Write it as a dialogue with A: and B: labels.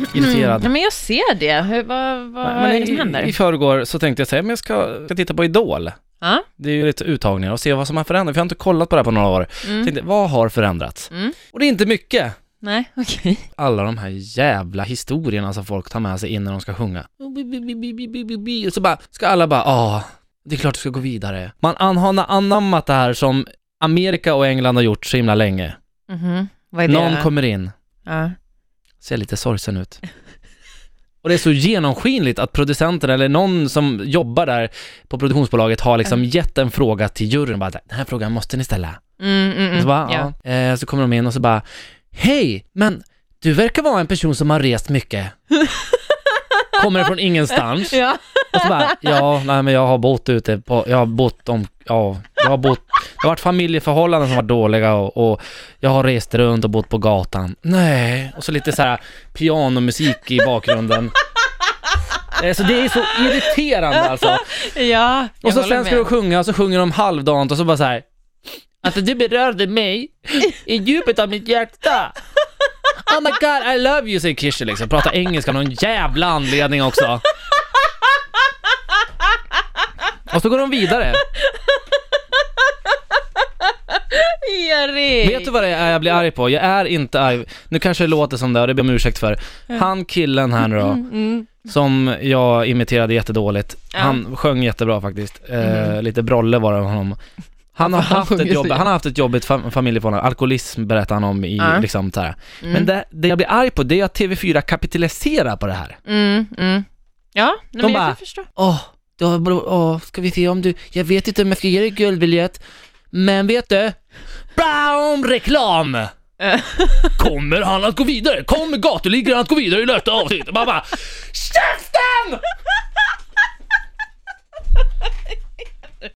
A: irriterad.
B: Mm. Ja, men jag ser det. Hur, vad vad
A: Men
B: är det som
A: i-
B: händer?
A: I förrgår så tänkte jag säga, men jag ska, ska titta på Idol.
B: ja?
A: Det är ju lite uttagningar och se vad som har förändrats, för jag har inte kollat på det här på några år. Tänkte, vad har förändrats?
B: Mm.
A: Och det är inte mycket.
B: Nej, okej.
A: Alla de här jävla historierna som folk tar med sig in när de ska sjunga. Och så bara, ska alla bara, ah, det är klart du ska gå vidare. Man an- har anammat det här som Amerika och England har gjort så himla länge.
B: Mhm. Vad är det?
A: Någon kommer in,
B: ja.
A: ser lite sorgsen ut. Och det är så genomskinligt att producenten eller någon som jobbar där på produktionsbolaget har liksom gett en fråga till juryn. Bara, den här frågan måste ni ställa.
B: Mm, mm, mm.
A: Så, bara,
B: ja.
A: ja. Eh, så kommer de in och så bara, hej, men du verkar vara en person som har rest mycket. kommer från ingenstans.
B: ja.
A: Och så bara, ja, nej men jag har bott ute på, jag har bott om, ja, jag har bott, det har varit familjeförhållanden som varit dåliga och, och jag har rest runt och bott på gatan. Nej, och så lite så här pianomusik i bakgrunden. Eh, Så det är så irriterande alltså.
B: ja. jag
A: Och så
B: håller
A: sen ska
B: med.
A: de sjunga och så sjunger de halvdant och så bara så här. Att du berörde mig i djupet av mitt hjärta. Oh my god I love you säger Kirsi liksom, pratar engelska av någon jävla anledning också. Och så går de vidare.
B: Erik!
A: Vet du vad det är jag blir arg på? Jag är inte arg. Nu kanske det låter som det och det ber jag om ursäkt för. Han killen här nu då,
B: Mm.
A: som jag imiterade jättedåligt.
B: Ja.
A: Han sjöng jättebra faktiskt. Eh, lite brolle var det av honom. Han har, haft
B: sjunger
A: ett
B: så
A: jobb,
B: jävla-
A: han har haft ett jobbigt fam- familjeförhållande, alkoholism berättar han om i
B: Ja.
A: liksom så här. Men det, det jag blir arg på det är att TV4 kapitaliserar på det här.
B: Mm, mm. Ja, nej, men jag
A: bara-
B: kan förstå.
A: Åh, då, åh, ska vi se om du, jag vet inte om jag ska ge dig guldbiljett, men vet du? Brown reklam!
B: Eh.
A: Kommer han att gå vidare? Kommer gatuligan att gå vidare i nästa avsnitt? Man bara, KÄFTEN!